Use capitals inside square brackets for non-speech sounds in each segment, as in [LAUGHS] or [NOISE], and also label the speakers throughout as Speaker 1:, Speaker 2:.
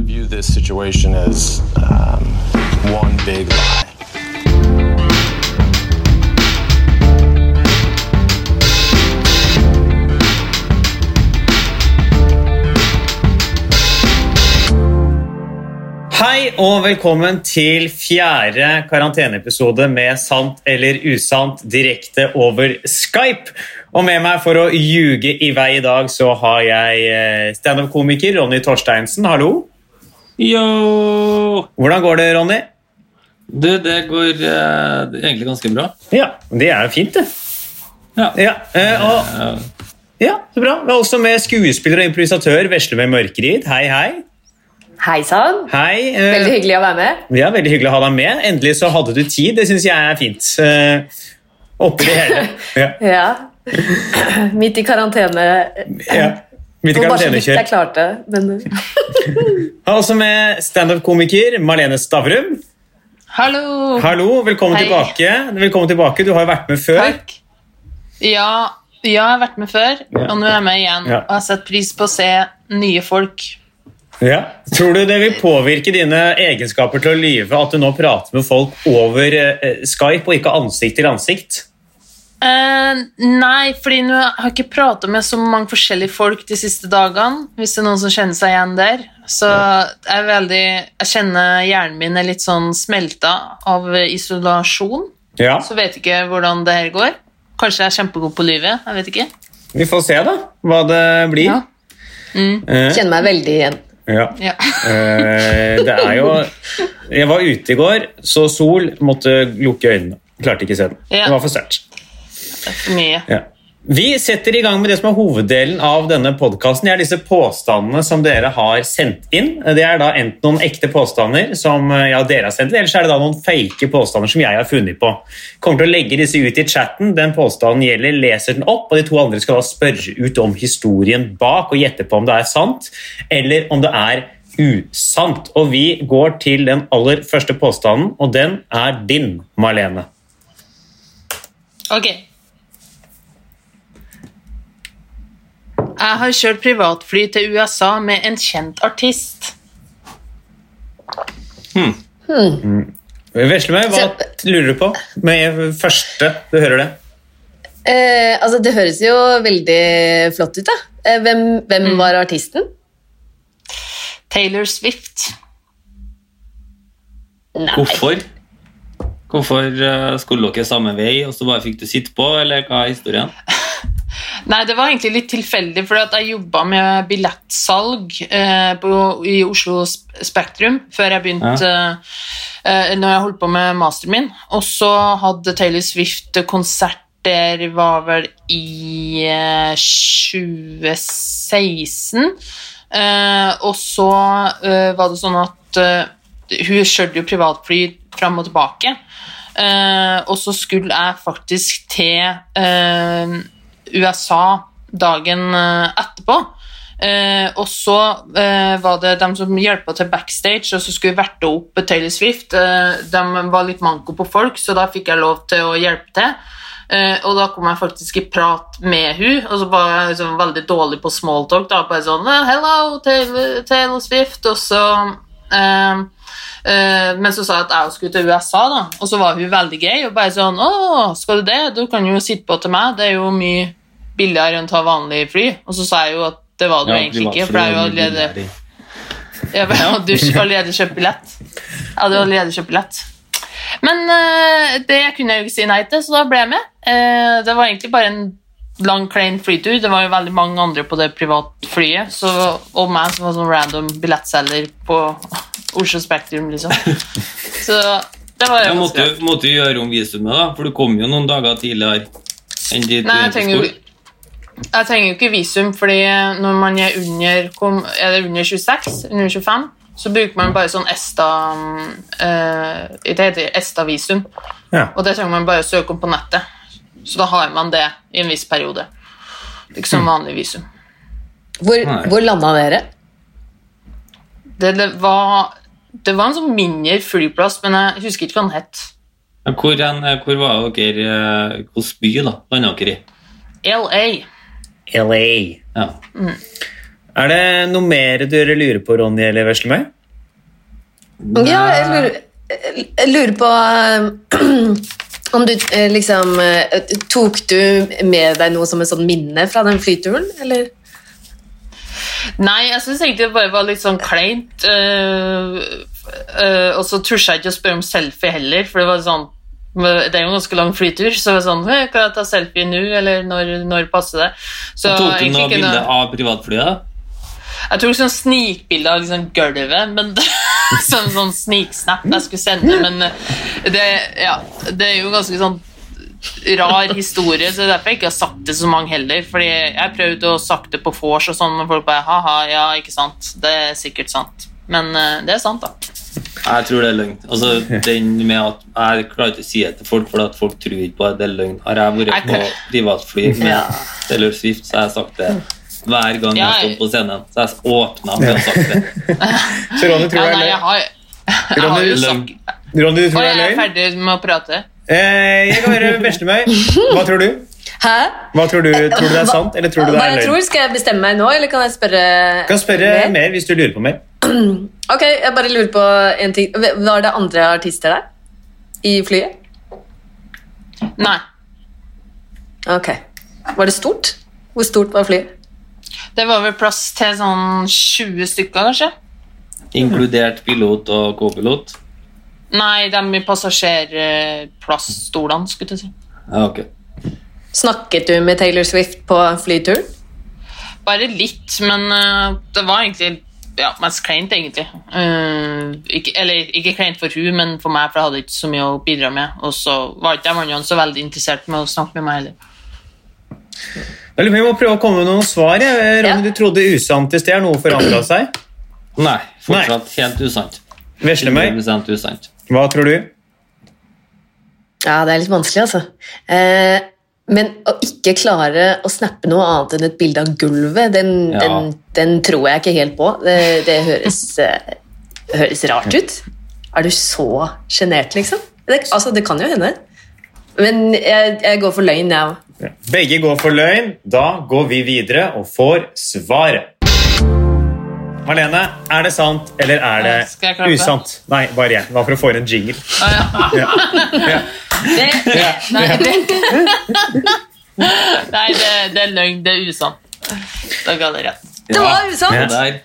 Speaker 1: view this situation as um, one big lie.
Speaker 2: Hei og velkommen til fjerde karanteneepisode med Sant eller usant direkte over Skype. Og med meg for å ljuge i vei i dag, så har jeg eh, standup-komiker Ronny Torsteinsen. Hallo.
Speaker 3: Yo!
Speaker 2: Hvordan går det, Ronny?
Speaker 3: Du, det går eh, egentlig ganske bra.
Speaker 2: Ja, det er jo fint, det.
Speaker 3: Ja.
Speaker 2: Ja, eh, og,
Speaker 3: Eh,
Speaker 2: ja så bra. Vi er også med skuespiller og improvisatør Veslemøy Mørkerid. Hei, hei.
Speaker 4: Hei sann!
Speaker 2: Hei. eh,
Speaker 4: Veldig hyggelig å være med.
Speaker 2: Ja, veldig hyggelig å ha deg med. Endelig så hadde du tid. Det syns jeg er fint. Eh, oppi det hele.
Speaker 4: [LAUGHS]
Speaker 2: Ja.
Speaker 4: Ja. Midt i karantene.
Speaker 2: Ja. Midt i
Speaker 4: Bare så vidt
Speaker 2: karantenekjør.
Speaker 4: jeg klarte, men
Speaker 2: [LAUGHS] Jeg er Også med standup-komiker Marlene Stavrum.
Speaker 5: Hallo!
Speaker 2: Hallo, velkommen
Speaker 5: Hei.
Speaker 2: tilbake. Velkommen tilbake. Du har jo vært med før.
Speaker 5: Takk. Ja, ja, jeg har vært med før, og nå er jeg med igjen.
Speaker 2: Ja.
Speaker 5: Og har sett pris på å se nye folk.
Speaker 2: Ja. Tror du det vil påvirke dine egenskaper til å lyve at du nå prater med folk over eh, Skype og ikke ansikt til ansikt?
Speaker 5: Eh, nei, fordi nå har jeg ikke prata med så mange forskjellige folk de siste dagene. Hvis det er noen som kjenner seg igjen der. Så jeg, er veldig, jeg kjenner hjernen min er litt sånn smelta av isolasjon.
Speaker 2: Ja,
Speaker 5: Så vet ikke hvordan det her går. Kanskje jeg er kjempegod på livet. Jeg vet ikke.
Speaker 2: vi får se da hva det blir.
Speaker 5: Ja.
Speaker 2: Eh,
Speaker 4: kjenner meg veldig igjen.
Speaker 2: ja.
Speaker 5: Ja.
Speaker 2: Eh, det er jo Jeg var ute i går, så sol måtte lukke øynene. Klarte ikke å se den.
Speaker 5: Ja.
Speaker 2: Det var for sterkt.
Speaker 5: Det er for [LAUGHS] mye.
Speaker 2: Ja. Vi setter i gang med det som er hoveddelen av denne podkasten. Det er disse påstandene som dere har sendt inn. Det er da enten noen ekte påstander som eh, ja, dere har sendt inn, eller så er det da noen fake påstander som jeg har funnet på. Kommer til å legge disse ut i chatten. Den påstanden gjelder, leser den opp, og de to andre skal da spørre ut om historien bak og gjette på om det er sant, eller om det er usant. Og vi går til den aller første påstanden, og den er din, Marlene.
Speaker 5: Ok. Jeg har kjørt privatfly til USA med en kjent artist.
Speaker 2: Veslemøy, hva t- lurer du på med første du hører det?
Speaker 4: Eh, altså, det høres jo veldig flott ut, da. Eh, hvem hvem var artisten?
Speaker 5: Taylor Swift.
Speaker 3: hvorfor? Hvorfor eh, skulle dere samme vei, og så bare fikk du sitte på, eller hva er historien?
Speaker 5: Nei, det var egentlig litt tilfeldig, for at jeg jobba med billettsalg eh, på, i Oslo Sp- Spektrum før jeg begynte eh, Når jeg holdt på med masteren min. Og så hadde Taylor Swift konsert der var vel i eh, 2016. Eh, og så eh, var det sånn at eh, hun kjørte jo privatfly fram og tilbake. Eh, og så skulle jeg faktisk til eh, USA dagen eh, etterpå. Eh, og så eh, var det dem som hjelpa til backstage, og så skulle vi verte opp Taylor Swift. Eh, de var litt manko på folk, så da fikk jeg lov til å hjelpe til. Eh, og da kom jeg faktisk i prat med hun og så var jeg liksom veldig dårlig på smalltalk. Da bare sånn eh, 'Hello, Taylor, Taylor Swift', og så eh, eh, Men så sa jeg at jeg skulle til USA, da, og så var hun veldig gøy og bare sånn 'Å, skal du det? Du kan jo sitte på til meg. Det er jo mye billigere enn å ta vanlig fly.' Og så sa jeg jo at det var det jo egentlig ikke, for det er jo allerede
Speaker 3: allerede
Speaker 5: jeg hadde jo ikke allerede kjøpt billett. Jeg hadde jo allerede kjøpt billett. Men eh, det kunne jeg jo ikke si nei til, så da ble jeg med. Eh, det var egentlig bare en lang, klein flytur. Det var jo veldig mange andre på det privatflyet, så, og meg som var sånn random billettselger på Oslo Spektrum, liksom. Så det var
Speaker 3: Jeg
Speaker 5: jo
Speaker 3: måtte,
Speaker 5: ganske bra.
Speaker 3: jo- måtte jo gjøre om visumet, da, for du kom jo noen dager tidligere enn dit du
Speaker 5: Nei, jeg
Speaker 3: egentlig
Speaker 5: trenger jo
Speaker 3: skulle.
Speaker 5: ikke jeg trenger jo ikke visum, fordi når man er under, kom, er det under 26, under 25, så bruker man bare sånn ESTA, eh, det heter ESTA-visum,
Speaker 2: Ja.
Speaker 5: og det trenger man bare å søke om på nettet. Så da har man det i en viss periode. Det er ikke som vanlig visum.
Speaker 4: Hvor,
Speaker 3: Nei.
Speaker 4: hvor landa dere?
Speaker 5: Det, det, var, det var en sånn mindre flyplass, men jeg husker ikke hva den het.
Speaker 3: Men Hvor, en, hvor var dere eh, Hvilken by da, landa dere i?
Speaker 5: LA.
Speaker 2: LA.
Speaker 3: Ja.
Speaker 2: Er det noe mer dere lurer på, Ronny eller Veslemøy?
Speaker 4: Ja, jeg lurer, jeg lurer på eh, [CLEARS THROAT] om du eh, liksom eh, Tok du med deg noe som et sånn minne fra den flyturen, eller?
Speaker 5: Nei, jeg syns egentlig det bare var litt sånn kleint. eh, eh, og så turte jeg ikke å spørre om selfie heller, for det var sånn det er jo en ganske lang flytur, så det var sånn «Hei, Kan jeg ta selfie nå, eller når, når passer det? Så
Speaker 3: Tok du
Speaker 5: egentlig
Speaker 3: noe
Speaker 5: ikke noe-
Speaker 3: bilde av privatflyet?
Speaker 5: Jeg tok sånn snikbilde av liksom gulvet, men [LAUGHS] det, sånn, sånn sniksnap jeg skulle sende, men eh, det, ja, det er jo ganske sånn rar historie, så det er derfor jeg ikke har sagt det så mange heller, fordi jeg prøvde å sagt det på vors og sånn, og folk bare, haha, ja, ikke sant, det er sikkert sant. Men eh, det er sant da.
Speaker 3: Jeg tror det er løgn. Altså, den med at Jeg klarer ikke å si det til folk, for at folk tror ikke på at det er løgn. Har jeg
Speaker 5: Jeg
Speaker 3: vært på
Speaker 5: kan-
Speaker 3: privatfly
Speaker 5: Ja.
Speaker 3: med Taylor Swift, så har jeg sagt det hver gang jeg
Speaker 5: Ja,
Speaker 3: har
Speaker 5: jeg-
Speaker 3: stått på scenen. Så jeg åpna med å ha sagt det.
Speaker 2: [LAUGHS] Så Ronny tror
Speaker 5: Ja,
Speaker 2: det
Speaker 5: nei, jeg
Speaker 2: er løgn.
Speaker 5: har, jeg har jo
Speaker 3: Løgn.
Speaker 5: sagt...
Speaker 2: Ronny, du
Speaker 5: Å,
Speaker 2: tror det
Speaker 5: jeg
Speaker 2: er
Speaker 5: er
Speaker 2: løgn?
Speaker 5: ferdig med å prate.
Speaker 2: Eh, jeg kan høre Bestemøy. Hva tror du?
Speaker 4: Hæ?
Speaker 2: Hva tror du? Tror du det er sant, eller tror du det
Speaker 4: Hva
Speaker 2: er
Speaker 4: jeg
Speaker 2: løgn?
Speaker 4: tror, Skal jeg bestemme meg nå, eller kan jeg spørre
Speaker 2: Du kan spørre mer hvis du lurer på mer.
Speaker 4: Ok, jeg bare lurer på en ting. Var det andre artister der? I flyet?
Speaker 5: Nei,
Speaker 4: Ok. Var det stort? Hvor stort var flyet?
Speaker 5: det var vel plass til sånn 20 stykker, kanskje?
Speaker 3: Inkludert pilot og co-pilot.
Speaker 5: Nei, de i passasjerplassstolene, skulle jeg si.
Speaker 3: Ja, ok.
Speaker 4: Snakket du med Taylor Swift på flyturen?
Speaker 5: Bare litt, men eh, det var egentlig ja, mest kleint, egentlig. Eh, ikke, eller ikke kleint for hun, men for meg, for jeg hadde ikke så mye å bidra med. Og så var ikke de andre så veldig interessert med å snakke med meg heller.
Speaker 2: Jeg lurer på om Vi må prøve å komme med noen svar. jeg. Eh,
Speaker 4: Ja.
Speaker 2: Ronny, du trodde usant i sted. Har noe forandra seg?
Speaker 3: Nei, fortsatt helt usant.
Speaker 2: Veslemøy,
Speaker 3: 100 usant.
Speaker 2: hva tror du?
Speaker 4: Ja, det er litt vanskelig, altså. Eh, men å ikke klare å snappe noe annet enn et bilde av gulvet, den,
Speaker 3: Ja.
Speaker 4: den, den tror jeg ikke helt på. Det, det høres, eh, høres rart ut. Er du så sjenert, liksom? Det, altså, det kan jo hende. Men jeg, jeg går for løgn, jeg òg.
Speaker 2: Begge går for løgn. Da går vi videre og får svaret. Marlene, er det sant eller er
Speaker 5: Skal
Speaker 2: det
Speaker 5: jeg klappe?
Speaker 2: usant? Nei, bare jeg. Det var for å få inn en jingle.
Speaker 5: Ah, ja. [LAUGHS] Det,
Speaker 2: Ja.
Speaker 5: nei, det, [LAUGHS] nei det, det er løgn. Det er usant. Da ga det rett.
Speaker 4: Det var usant!
Speaker 3: Og der,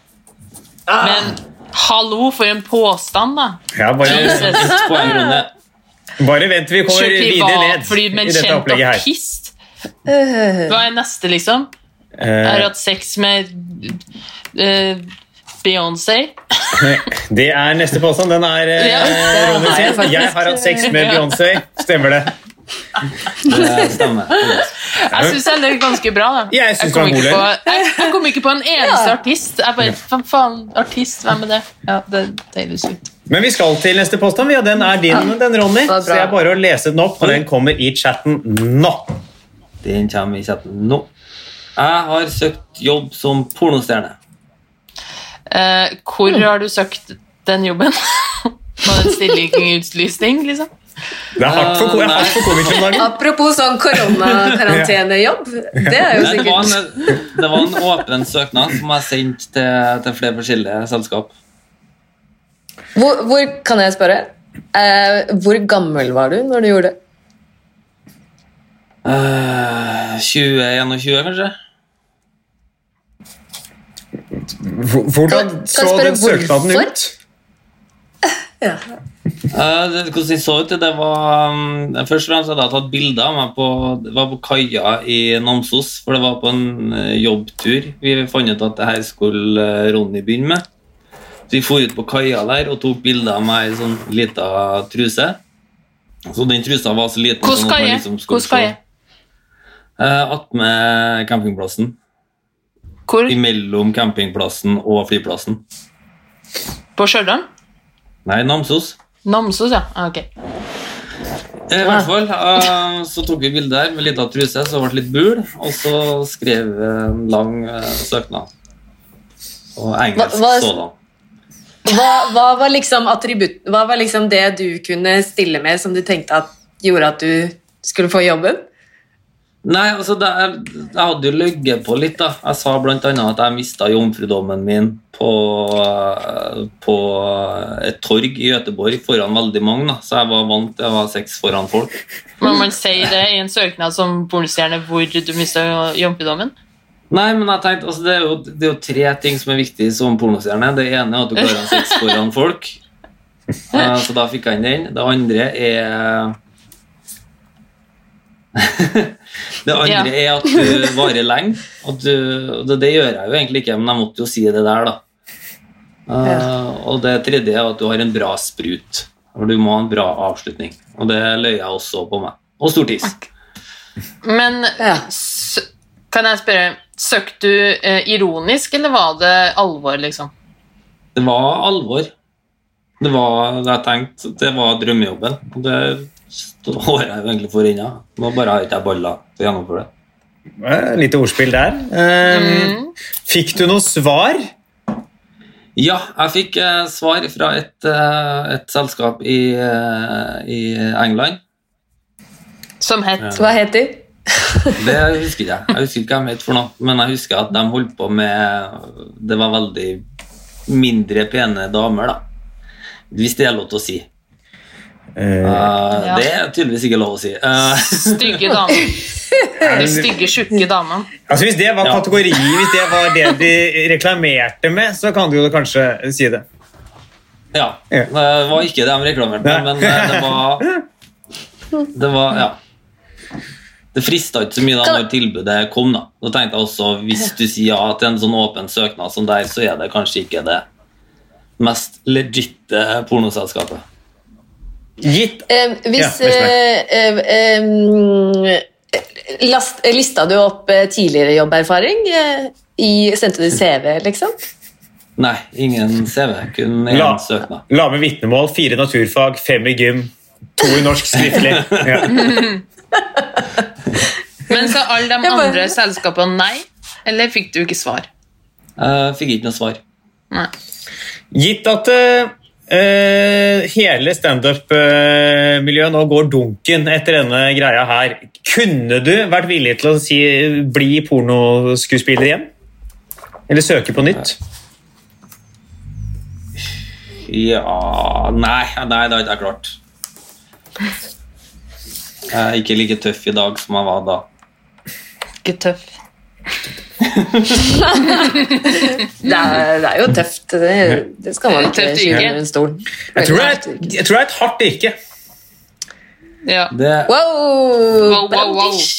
Speaker 5: Men hallo, for en påstand, da.
Speaker 2: Ja, bare,
Speaker 3: et poeng, Rune.
Speaker 2: bare vent til vi kommer
Speaker 5: Kjør
Speaker 2: videre ned
Speaker 5: privatfly,
Speaker 2: i
Speaker 5: men
Speaker 2: dette
Speaker 5: kjent og
Speaker 2: opplegget her.
Speaker 5: pist.
Speaker 4: Øh,
Speaker 5: Hva er neste, liksom? Jeg har
Speaker 2: Eh,
Speaker 5: hatt sex med eh, Beyoncé.
Speaker 2: [LAUGHS] det er neste påstand. Den er
Speaker 5: Ja,
Speaker 2: eh,
Speaker 4: det
Speaker 2: Ronny
Speaker 4: er
Speaker 2: sin.
Speaker 4: faktisk-
Speaker 2: Jeg har hatt sex med
Speaker 5: Ja.
Speaker 2: Beyoncé. Stemmer det?
Speaker 3: Det
Speaker 5: [LAUGHS]
Speaker 3: stemmer.
Speaker 5: Jeg syns jeg løy ganske bra. da
Speaker 2: Jeg synes
Speaker 5: kom
Speaker 2: det var
Speaker 5: ikke
Speaker 2: god
Speaker 5: på, jeg, jeg kom ikke på en eneste
Speaker 4: Ja.
Speaker 5: artist. Jeg bare, fa- faen, artist, Hvem er det? Ja, det det er litt sykt.
Speaker 2: Men vi skal til neste påstand. Ja, den er din, den, Ronny.
Speaker 4: var bra.
Speaker 2: Så jeg er bare å lese den opp, og den kommer i chatten nå.
Speaker 3: Den kommer i chatten nå. Jeg har søkt jobb som pornostjerne.
Speaker 5: Eh, hvor har du søkt den jobben? [LAUGHS] Var det en stillingutlysning, liksom?
Speaker 2: Det er hardt for, det er hardt for komikere om dagen.
Speaker 4: Apropos sånn koronakarantenejobb. Det er jo
Speaker 3: Nei, Det var,
Speaker 4: sikkert
Speaker 3: en, det var en åpen søknad som jeg sendte til, til flere forskjellige selskap.
Speaker 4: Hvor, hvor kan jeg spørre? Eh, hvor gammel var du når du gjorde det?
Speaker 3: Eh, 2021, kanskje?
Speaker 2: Hvor- Hvordan
Speaker 4: Kan- kan
Speaker 2: så
Speaker 4: jeg spørre
Speaker 2: den søknaden
Speaker 4: hvorfor?
Speaker 2: ut?
Speaker 3: Eh, det, hvordan det så ut, det var um, Først og fremst hadde jeg tatt bilder av meg på, det var på kaia i Namsos. For det var på en eh, jobbtur. Vi fant ut at det her skulle eh, Ronny begynne med. Så vi dro ut på kaia der og tok bilder av meg i sånn lita truse. Så den trusa var så liten
Speaker 5: Hvordan
Speaker 3: sånn at
Speaker 5: skal
Speaker 3: man
Speaker 5: jeg?
Speaker 3: liksom skulle
Speaker 5: Hvordan
Speaker 3: se.
Speaker 5: skal jeg?
Speaker 3: Eh, Attmed campingplassen.
Speaker 5: Hvor?
Speaker 3: Imellom campingplassen og flyplassen.
Speaker 5: På Stjørdal?
Speaker 3: Nei, Namsos.
Speaker 5: Namsos, ja. Ah, ok.
Speaker 3: Eh, I hvert fall, eh, så tok vi bilde her med lita truse, så det ble litt bul, og så skrev vi en lang eh, søknad. Og engelsk
Speaker 4: Hva- hva-
Speaker 3: sådan.
Speaker 4: Hva, hva var liksom attributt, hva var liksom det du kunne stille med som du tenkte at gjorde at du skulle få jobben?
Speaker 3: Nei, altså, det er, jeg hadde jo løyet på litt, da. Jeg sa blant annet at jeg mista jomfrudommen min på, eh, på et torg i Gøteborg foran veldig mange, da. Så jeg var vant til å ha sex foran folk.
Speaker 5: Må man si det i en søknad som pornostjerne hvor du mista jomfrudommen?
Speaker 3: Nei, men jeg tenkte, altså, det, er jo, det er jo tre ting som er viktig som pornostjerne. Det ene er at du klarer å ha sex foran folk. Eh, Så da fikk jeg inn den. Det andre er [LAUGHS] Det andre
Speaker 5: Ja.
Speaker 3: er at du varer lenge. At du, og det, det gjør jeg jo egentlig ikke, men jeg måtte jo si det der, da. Eh, og det tredje er at du har en bra sprut. For du må ha en bra avslutning. Og det løy jeg også på meg. Og stor tiss.
Speaker 5: Men
Speaker 4: Ja.
Speaker 5: s kan jeg spørre Søkte du eh, ironisk, eller var det alvor, liksom?
Speaker 3: Det var alvor. Det var det jeg tenkte. Det var drømmejobben. Og det står jeg jo egentlig for ennå. Nå bare har ikke jeg baller til å gjennomføre det.
Speaker 2: Eh, Lite ordspill der. Eh,
Speaker 4: Mm.
Speaker 2: Fikk du noe svar?
Speaker 3: Ja, jeg fikk eh, svar fra et, eh, et selskap i, eh, i England.
Speaker 5: Som het
Speaker 3: Ja.
Speaker 4: Hva het de?
Speaker 3: Det husker ikke jeg. Jeg husker ikke hva de het for noe, men jeg husker at de holdt på med Det var veldig mindre pene damer, da. Hvis det er lov til å si. Eh,
Speaker 2: Eh,
Speaker 4: Ah.
Speaker 3: Det er tydeligvis ikke lov å si. Eh,
Speaker 2: [LAUGHS]
Speaker 5: Stygge damer. De stygge, tjukke damene.
Speaker 2: Eh, altså Hvis det var
Speaker 3: Ja.
Speaker 2: kategori, hvis det var det de reklamerte med, så kan du jo kanskje si det.
Speaker 3: Ja.
Speaker 2: Ja.
Speaker 3: Det var ikke det de reklamerte,
Speaker 2: Nei.
Speaker 3: med, men eh, det var Det var Ja. Det frista ikke så mye da
Speaker 4: Kan-
Speaker 3: når tilbudet kom. Da Da tenkte jeg også hvis du sier ja til en sånn åpen søknad som der, så er det kanskje ikke det mest legitte pornoselskapet.
Speaker 2: Gitt
Speaker 4: Eh, hvis
Speaker 2: Ja, hvis det.
Speaker 4: eh, eh, eh, last, eh, Lista du opp eh, tidligere jobberfaring? eh, I, sendte du CV, liksom?
Speaker 3: Nei, ingen CV, kun én
Speaker 2: La-
Speaker 3: søknad.
Speaker 2: La med vitnemål, fire naturfag, fem i gym, to i norsk skriftlig. Ja.
Speaker 5: Men så alle de
Speaker 4: bare-
Speaker 5: andre selskapene nei? Eller fikk du ikke svar?
Speaker 3: Jeg fikk ikke noe svar.
Speaker 5: Nei.
Speaker 2: Gitt at eh, hele standup-miljøet nå går dunken etter denne greia her, kunne du vært villig til å si, bli pornoskuespiller igjen? Eller søke på nytt?
Speaker 3: Ja Nei, nei det har ikke jeg klart. Jeg er ikke like tøff i dag som jeg var da.
Speaker 5: Ikke tøff.
Speaker 4: Det er, det er jo tøft. Det, det skal man ikke
Speaker 5: Tøft yrke.
Speaker 4: skyve under en stol.
Speaker 2: Jeg tror det er, et- jeg tror det er et hardt yrke.
Speaker 5: Ja.
Speaker 3: Det
Speaker 4: Wow!
Speaker 5: wow, wow.
Speaker 4: Brandtisch.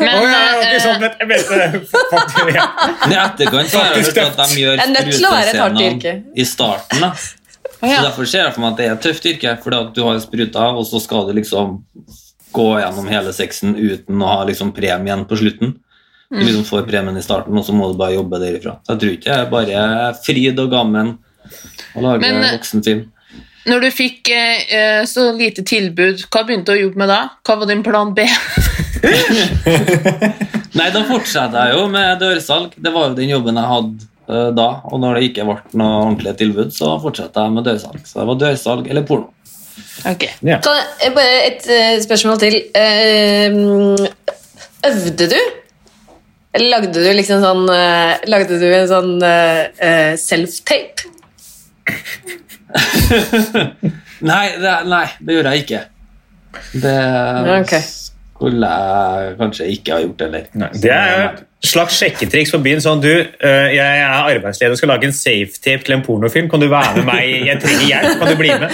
Speaker 5: Men,
Speaker 2: Å ja, det var
Speaker 5: eh,
Speaker 2: ikke sånn, men jeg mente faktisk det. [LAUGHS]
Speaker 3: Men I etterkant så har jeg hørt at de gjør
Speaker 4: Det er nødt til å være et hardt yrke.
Speaker 3: sprutescenene i starten. da.
Speaker 5: å
Speaker 3: Så
Speaker 5: ja.
Speaker 3: Derfor ser jeg for meg at det er et tøft yrke, fordi at du har spruta, og så skal du liksom gå gjennom hele sexen uten å ha liksom premien på slutten. Du liksom får premien i starten, og så må du bare jobbe derifra. Så jeg tror ikke det er bare fryd og gammen å lage
Speaker 5: Men, eh,
Speaker 3: voksenfilm.
Speaker 5: Når du fikk eh, eh, så lite tilbud, hva begynte du å jobbe med da? Hva var din plan B? [LAUGHS]
Speaker 3: Nei, da fortsetter jeg jo med dørsalg. Det var jo den jobben jeg hadde eh, da, og når det ikke ble noe ordentlig tilbud, så fortsetter jeg med dørsalg. Så det var dørsalg eller porno.
Speaker 5: Ok.
Speaker 4: Kan jeg bare et eh, spørsmål til. Eh, Øvde du? Eller lagde du liksom sånn eh, Lagde du en sånn eh, eh, self-tape?
Speaker 3: Nei, det, nei, det gjorde jeg ikke. Det
Speaker 4: Ok.
Speaker 3: skulle jeg kanskje ikke ha gjort heller.
Speaker 2: Det er jo et slags sjekketriks på byen. Sånn, du, eh, jeg er arbeidsleder og skal lage en safetape til en pornofilm. Kan du være med meg? Jeg trenger hjelp. Kan du bli med?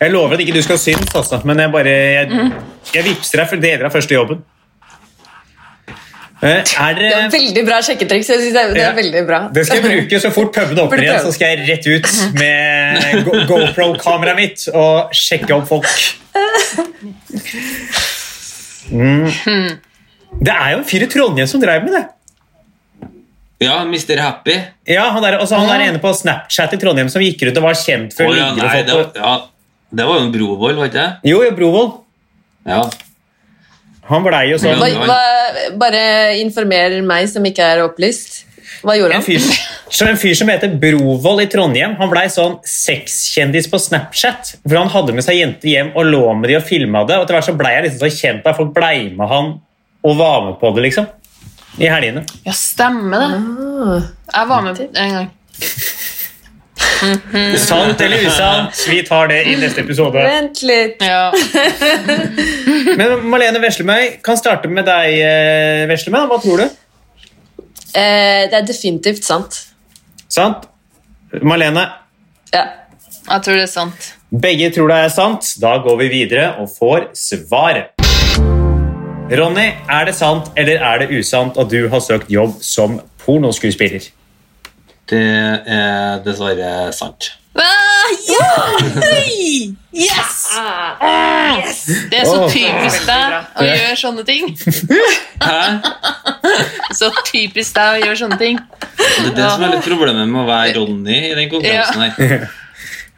Speaker 2: Jeg lover at ikke du skal synes, altså, men jeg bare jeg, jeg vippser deg for deler av første jobben. Eh, Er
Speaker 4: Det var
Speaker 2: det
Speaker 4: veldig bra sjekketriks. Jeg synes det, er- det
Speaker 2: Ja.
Speaker 4: er veldig bra.
Speaker 2: det skal jeg bruke så fort pubene åpner igjen. Så skal jeg rett ut med Go- GoPro-kameraet mitt og sjekke opp folk. Mm. Det er jo en fyr i Trondheim som drev med det.
Speaker 3: Ja, Mr. Happy.
Speaker 2: Ja, han er, også, han er ene på Snapchat i Trondheim som gikk rundt og var kjent for
Speaker 3: Å ja,
Speaker 2: liggende
Speaker 3: nei, det, var-
Speaker 2: folk.
Speaker 3: ja, det var jo en brovoll, var ikke det?
Speaker 2: Jo, jo, Brovold.
Speaker 3: Ja.
Speaker 2: Han blei jo sånn
Speaker 4: Hva, hva, bare informer meg som ikke er opplyst. Hva gjorde
Speaker 2: en
Speaker 4: han?
Speaker 2: fyr, så en fyr som heter Brovold i Trondheim, han blei sånn sexkjendis på Snapchat. For han hadde med seg jenter hjem og lå med de og filma det. Og etter hvert så blei jeg liksom så kjent at folk blei med han og var med på det, liksom. I helgene.
Speaker 5: Ja, stemmer det. Jeg var med en gang.
Speaker 2: Sant eller usant, vi tar det i neste episode.
Speaker 4: Vent litt.
Speaker 5: Ja.
Speaker 2: Men Malene Veslemøy, kan starte med deg, eh, Veslemøy. Hva tror du?
Speaker 4: Eh, det er definitivt sant.
Speaker 2: Sant? Malene,
Speaker 4: Ja.
Speaker 5: Jeg tror det er sant.
Speaker 2: Begge tror det er sant. Da går vi videre og får svaret. Ronny, er det sant eller er det usant at du har søkt jobb som pornoskuespiller?
Speaker 3: Det er dessverre sant.
Speaker 5: Ah, ja! Hei! Yes! Det er så
Speaker 2: Åh.
Speaker 5: typisk deg å gjøre sånne ting.
Speaker 3: Hæ?
Speaker 5: Så typisk deg å gjøre sånne ting.
Speaker 3: Det er det som er litt problemet med å være Ronny i den konkurransen her.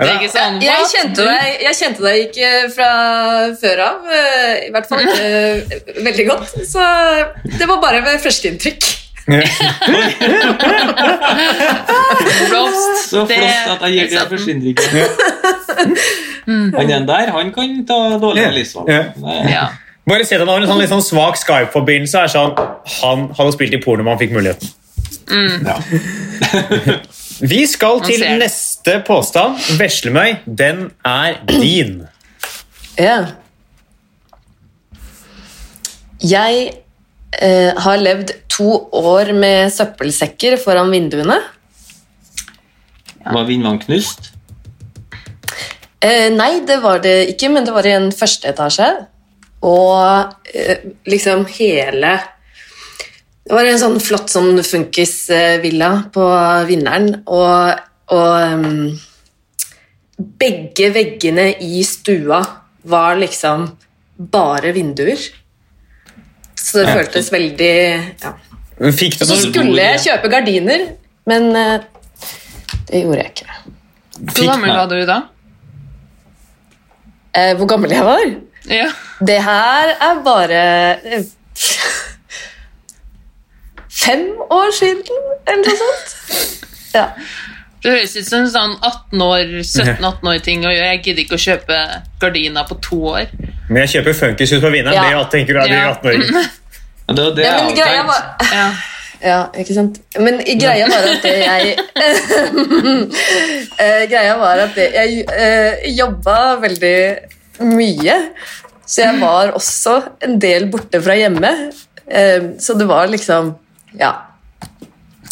Speaker 5: Det er ikke sånn
Speaker 4: Jeg
Speaker 5: hva?
Speaker 4: kjente deg, jeg kjente deg ikke fra før av. eh, I hvert fall ikke [LAUGHS] eh, veldig godt. Så det var bare ved førsteinntrykk.
Speaker 5: Roast.
Speaker 4: [LAUGHS]
Speaker 3: Så
Speaker 5: Det-
Speaker 3: flott at jeg gir deg forsinringen.
Speaker 4: Mm.
Speaker 3: Han den der, han kan ta dårlige
Speaker 2: Ja.
Speaker 3: livsvalg. Nei.
Speaker 5: Ja.
Speaker 2: Bare se deg nå, en sånn, litt sånn svak Skype-forbindelse er sånn Han hadde spilt i porno om han fikk muligheten. [LAUGHS] Vi skal til
Speaker 5: Mm. ser det.
Speaker 2: neste påstand. Veslemøy, den er din.
Speaker 4: Ja. Jeg eh, har levd to år med søppelsekker foran vinduene.
Speaker 3: Var vindvann knust?
Speaker 4: Eh, nei, det var det ikke, men det var i en første etasje. Og eh, liksom hele Det var en sånn flott sånn funkisvilla på Vinneren, og, og em, Begge veggene i stua var liksom bare vinduer. Så det føltes veldig ja.
Speaker 2: Fikk du
Speaker 4: Så
Speaker 2: noe,
Speaker 4: skulle jeg kjøpe gardiner, men eh, det gjorde jeg ikke.
Speaker 5: Hvor gammel var du da?
Speaker 4: Eh, hvor gammel jeg var?
Speaker 5: Ja.
Speaker 4: Det her er bare eh, Fem år siden, eller noe sånt. Ja.
Speaker 5: Det høres ut som en sånn 18 år, 17-18-år-ting å gjøre. Jeg gidder ikke å kjøpe gardiner på to år.
Speaker 2: Men jeg kjøper funkishus på vinneren.
Speaker 4: Ja.
Speaker 2: Det tenker du er de
Speaker 5: Ja.
Speaker 2: 18-åringene.
Speaker 3: Ja, det var det
Speaker 4: Ja,
Speaker 3: jeg
Speaker 4: men greia
Speaker 3: hadde
Speaker 4: var
Speaker 3: tenkt.
Speaker 5: Ja.
Speaker 4: Ja, ikke sant? Men i- greia var at det jeg [LAUGHS] Eh, Greia var at det, jeg eh, jobba veldig mye. Så jeg var også en del borte fra hjemme. Eh, så det var liksom Ja.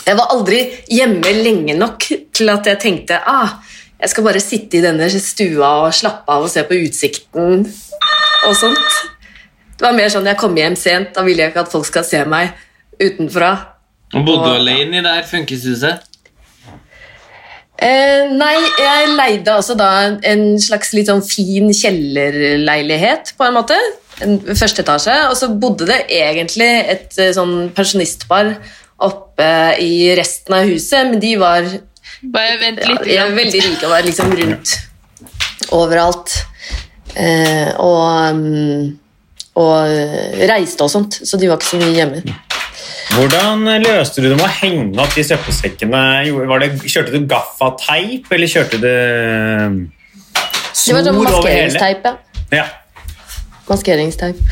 Speaker 4: Jeg var aldri hjemme lenge nok til at jeg tenkte ah, jeg skal bare sitte i denne stua og slappe av og se på utsikten og sånt. Det var mer sånn jeg kom hjem sent, da vil jeg ikke at folk skal se meg utenfra.
Speaker 3: Og bodde du alene i det her funkishuset?
Speaker 4: Eh, nei, jeg leide altså da en slags litt sånn fin kjellerleilighet, på en måte. En første etasje. Og så bodde det egentlig et eh, sånn pensjonistpar oppe i resten av huset, men de var
Speaker 5: Bare vent
Speaker 4: ja,
Speaker 5: litt.
Speaker 4: de er veldig rike og var liksom rundt overalt. Eh, og, mm, og eh, reiste og sånt, så de var ikke så mye hjemme.
Speaker 2: Hvordan løste du det med å henge opp de søppelsekkene? Jo, Var det, kjørte du gaffateip, eller kjørte du
Speaker 4: Det
Speaker 2: snor
Speaker 4: var sånn
Speaker 2: over hele?
Speaker 4: maskeringsteip, ja.
Speaker 2: Ja.
Speaker 4: Maskeringsteip.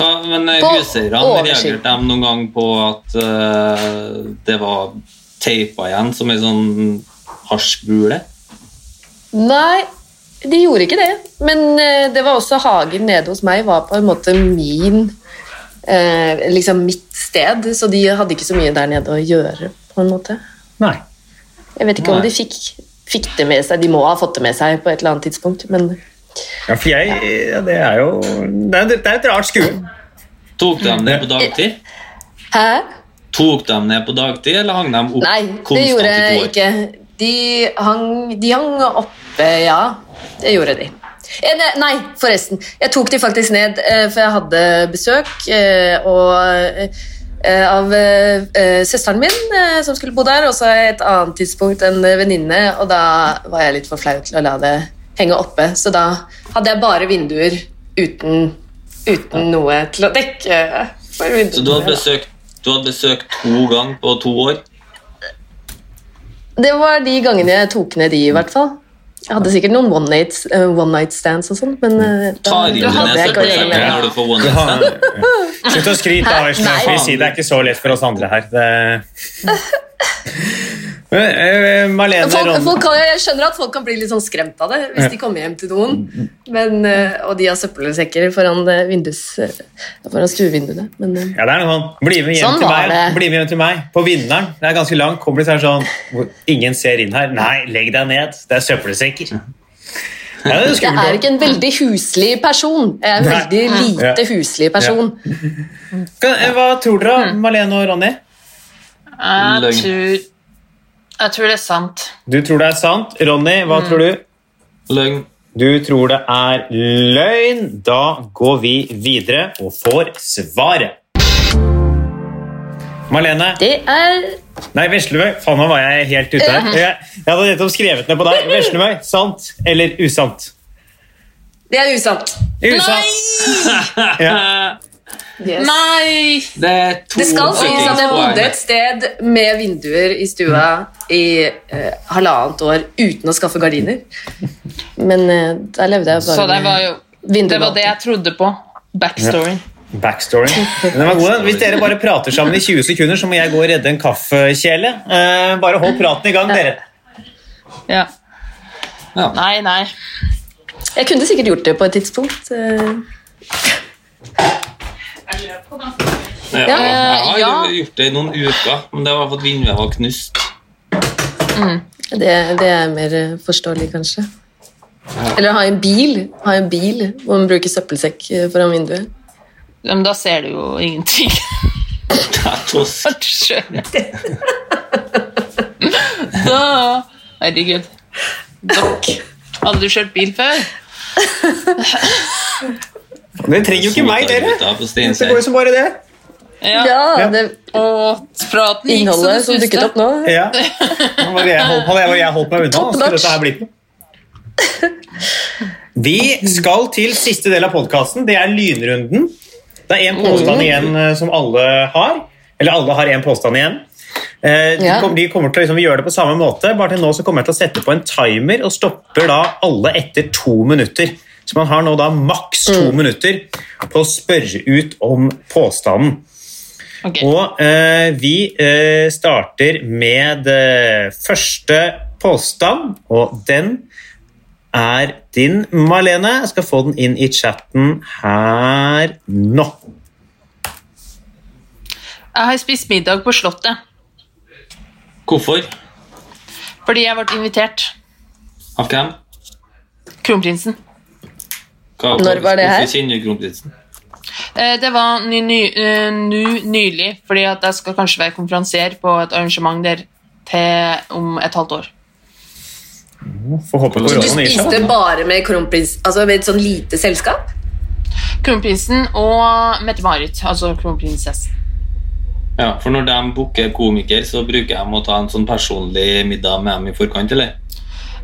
Speaker 3: Hva, men eh,
Speaker 4: På
Speaker 3: huseierne
Speaker 4: oversikt.
Speaker 3: reagerte de noen gang på at eh, det var teipa igjen som ei sånn hasjbule?
Speaker 4: Nei, de gjorde ikke det. Men eh, det var også hagen nede hos meg var på en måte min eh, Liksom mitt sted, så de hadde ikke så mye der nede å gjøre, på en måte.
Speaker 2: Nei.
Speaker 4: Jeg vet ikke om
Speaker 3: Nei.
Speaker 4: de fikk, fikk det med seg. De må ha fått det med seg på et eller annet tidspunkt, men
Speaker 2: Ja, for jeg ja, Det er jo Det er, det er et rart
Speaker 4: [LAUGHS]
Speaker 2: skue.
Speaker 3: Tok de ned på dagtid?
Speaker 4: Hæ?
Speaker 3: Tok de ned på dagtid, eller hang de opp
Speaker 4: Nei, det
Speaker 3: konstant
Speaker 4: gjorde
Speaker 3: i to
Speaker 4: jeg
Speaker 3: år?
Speaker 4: ikke. De hang, de hang oppe, ja. Det gjorde de. Eh, ne- Nei, forresten. Jeg tok de faktisk ned, eh, for jeg hadde besøk eh, og, eh, av eh, eh, søsteren min, eh, som skulle bo der, og så et annet tidspunkt en eh, venninne, og da var jeg litt for flau til å la det henge oppe, så da hadde jeg bare vinduer uten, uten noe til å dekke.
Speaker 3: Så du
Speaker 4: for
Speaker 3: hadde
Speaker 4: vinduene.
Speaker 3: besøkt, du hadde besøkt to ganger på to år?
Speaker 4: Det var de gangene jeg tok ned de, i hvert fall. Jeg hadde sikkert noen one night, eh, one night stands og sånn, men eh, da-
Speaker 3: Tar inn
Speaker 5: Du
Speaker 4: da
Speaker 5: hadde
Speaker 4: hadde jeg ikke
Speaker 5: selvfølgelig-
Speaker 4: regler.
Speaker 3: neseprodukter når du får one
Speaker 2: Du
Speaker 3: night
Speaker 2: har-
Speaker 3: stand.
Speaker 2: Slutt å skryte av oss.
Speaker 4: Nei.
Speaker 2: Vi sier det er ikke så lett for oss andre her. Det...
Speaker 4: [LAUGHS]
Speaker 2: Men, eh, Malene
Speaker 4: Folk,
Speaker 2: Ron-
Speaker 4: folk kan, jeg skjønner at folk kan bli litt sånn skremt av det hvis de kommer hjem til noen, men, eh, og de har søppelsekker foran, eh, vindus, eh, foran stuevinduene. Men eh,
Speaker 2: Ja, det er noe sånn. Bli med hjem
Speaker 4: Sånn
Speaker 2: til meg.
Speaker 4: var det.
Speaker 2: Bli med hjem til meg. På vinneren. Det er ganske langt. Kommer litt sånn hvor Ingen ser inn her. Nei, legg deg ned. Det er søppelsekker. Ja, det er
Speaker 4: jeg
Speaker 2: skummelt.
Speaker 4: er ikke en veldig huslig person. Jeg er en
Speaker 2: Nei.
Speaker 4: veldig lite huslig person.
Speaker 2: Kan- eh, Hva tror dere,
Speaker 4: Mm.
Speaker 2: Malene og Ronny?
Speaker 5: Jeg
Speaker 3: Løgn.
Speaker 5: tror, jeg tror det er sant.
Speaker 2: Du tror det er sant. Ronny, hva
Speaker 4: Mm.
Speaker 2: tror du?
Speaker 3: Løgn.
Speaker 2: Du tror det er løgn. Da går vi videre og får svaret. Malene.
Speaker 4: Det er
Speaker 2: Nei, Veslemøy. Faen, nå var jeg helt ute her. Jeg, jeg hadde nettopp skrevet ned på deg. Veslemøy, sant eller usant?
Speaker 4: Det er usant.
Speaker 2: Usant. Ja.
Speaker 5: Nei!
Speaker 3: Eh, Det er to
Speaker 4: Det skal sies at jeg bodde et sted med vinduer i stua i eh, halvannet år uten å skaffe gardiner. Men eh, der levde jeg bare
Speaker 5: Så det var jo
Speaker 4: Vinduet
Speaker 5: det, var det jeg trodde på. Backstory.
Speaker 2: Backstory. Den var god. den. Hvis dere bare prater sammen i 20 sekunder, så må jeg gå og redde en kaffekjele. Eh, bare hold praten i gang, dere.
Speaker 5: Ja.
Speaker 3: Ja.
Speaker 5: Nei, nei.
Speaker 4: Jeg kunne sikkert gjort det på et tidspunkt. eh.
Speaker 3: Ja,
Speaker 4: Ja,
Speaker 3: jeg
Speaker 5: ja.
Speaker 3: har gjort det i noen uker, men det var for at vinduet var knust.
Speaker 4: Det, det er mer eh, forståelig, kanskje. Eller ha en bil ha en bil hvor man bruker søppelsekk eh, foran vinduet.
Speaker 5: Men da ser du jo ingenting. [LAUGHS]
Speaker 3: Det er tosk.
Speaker 5: Skjønner. [LAUGHS] Da Herregud. Dokk. Hadde du kjørt bil før?
Speaker 2: Dere trenger jo ikke meg, dere.
Speaker 3: Solgutta på
Speaker 2: Det går jo
Speaker 3: Steinkjer.
Speaker 2: som bare det.
Speaker 5: Ja.
Speaker 4: Ja, det
Speaker 5: Og praten gikk så det
Speaker 4: innholdet som dukket
Speaker 5: suste.
Speaker 4: opp nå.
Speaker 2: Ja. Nå var det jeg holdt, hadde jeg- jeg holdt meg unna, så skulle dette her blitt noe. Vi skal til siste del av podkasten. Det er lynrunden. Det er én påstand igjen eh, som alle har. Eller alle har én påstand igjen. Eh, de
Speaker 4: Ja.
Speaker 2: kom- De kommer til å liksom, Vi gjør det på samme måte, bare til nå så kommer jeg til å sette på en timer og stopper da alle etter to minutter. Så man har nå da maks to minutter på å spørre ut om påstanden.
Speaker 5: Ok.
Speaker 2: Og eh, vi eh, starter med eh, første påstand, og den er din, Malene. Jeg skal få den inn i chatten her nå.
Speaker 5: Jeg har spist middag på Slottet
Speaker 3: Hvorfor?
Speaker 5: fordi jeg ble invitert.
Speaker 3: Av hvem?
Speaker 5: Kronprinsen.
Speaker 3: Hva,
Speaker 4: Når var det her?
Speaker 3: Hvorfor kjenner du kronprinsen?
Speaker 5: Eh, Det var ny, ny, eh, nu nylig, fordi at jeg skal kanskje være konferansier på et arrangement der til om et halvt år.
Speaker 2: Får håpe
Speaker 4: Du
Speaker 2: koronaen gir seg.
Speaker 4: spiste bare med kronprins, altså med et sånn lite selskap?
Speaker 5: Kronprinsen og Mette-Marit, altså kronprinsessen.
Speaker 3: Ja, for når de booker komiker, så bruker de å ta en sånn personlig middag med dem i forkant, eller?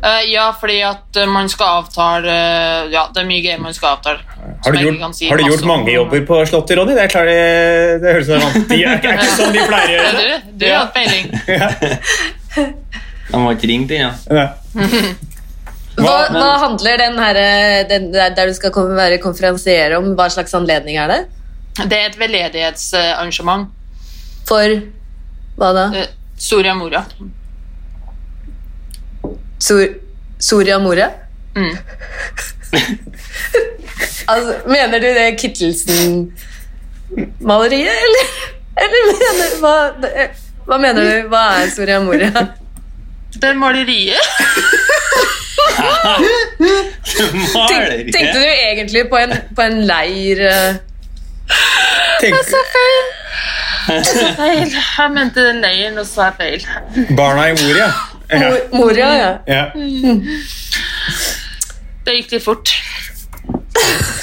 Speaker 5: Eh, ja, fordi at eh, man skal avtale eh, Ja, det er mye greier man skal avtale. som
Speaker 2: Har du
Speaker 5: jeg ikke
Speaker 2: gjort,
Speaker 5: kan si
Speaker 2: har du
Speaker 5: masse
Speaker 2: gjort mange
Speaker 5: om.
Speaker 2: jobber på Slottet, Ronny? Det, er klart, eh, det, det høres ut som det er ikke sånn de pleier å
Speaker 5: Ja,
Speaker 2: gjøre det.
Speaker 5: Du, du har hatt peiling.
Speaker 3: De har ikke ringt ennå.
Speaker 2: Nei.
Speaker 4: Hva,
Speaker 2: Hva-
Speaker 4: hva handler den, her, eh, den der, der du skal komme, være konferansier om? Hva slags anledning er det?
Speaker 5: Det er et veldedighetsarrangement.
Speaker 4: For hva da?
Speaker 5: Eh, Soria Moria.
Speaker 4: Sor Soria Moria?
Speaker 5: Mm.
Speaker 4: [LAUGHS] altså, mener du det Kittelsen-maleriet, eller? Eller mener hva, hva mener du? Hva er Soria
Speaker 2: [LAUGHS]
Speaker 4: Moria?
Speaker 5: Det er maleriet.
Speaker 4: Tenk, tenkte du egentlig på en, på en leir eh,
Speaker 2: Tenk,
Speaker 4: Altså-
Speaker 5: Feil. Jeg mente den leiren, og så er feil.
Speaker 2: barna i Moria. Ja.
Speaker 4: Mo- Moria, ja.
Speaker 2: Ja.
Speaker 5: Det gikk litt fort.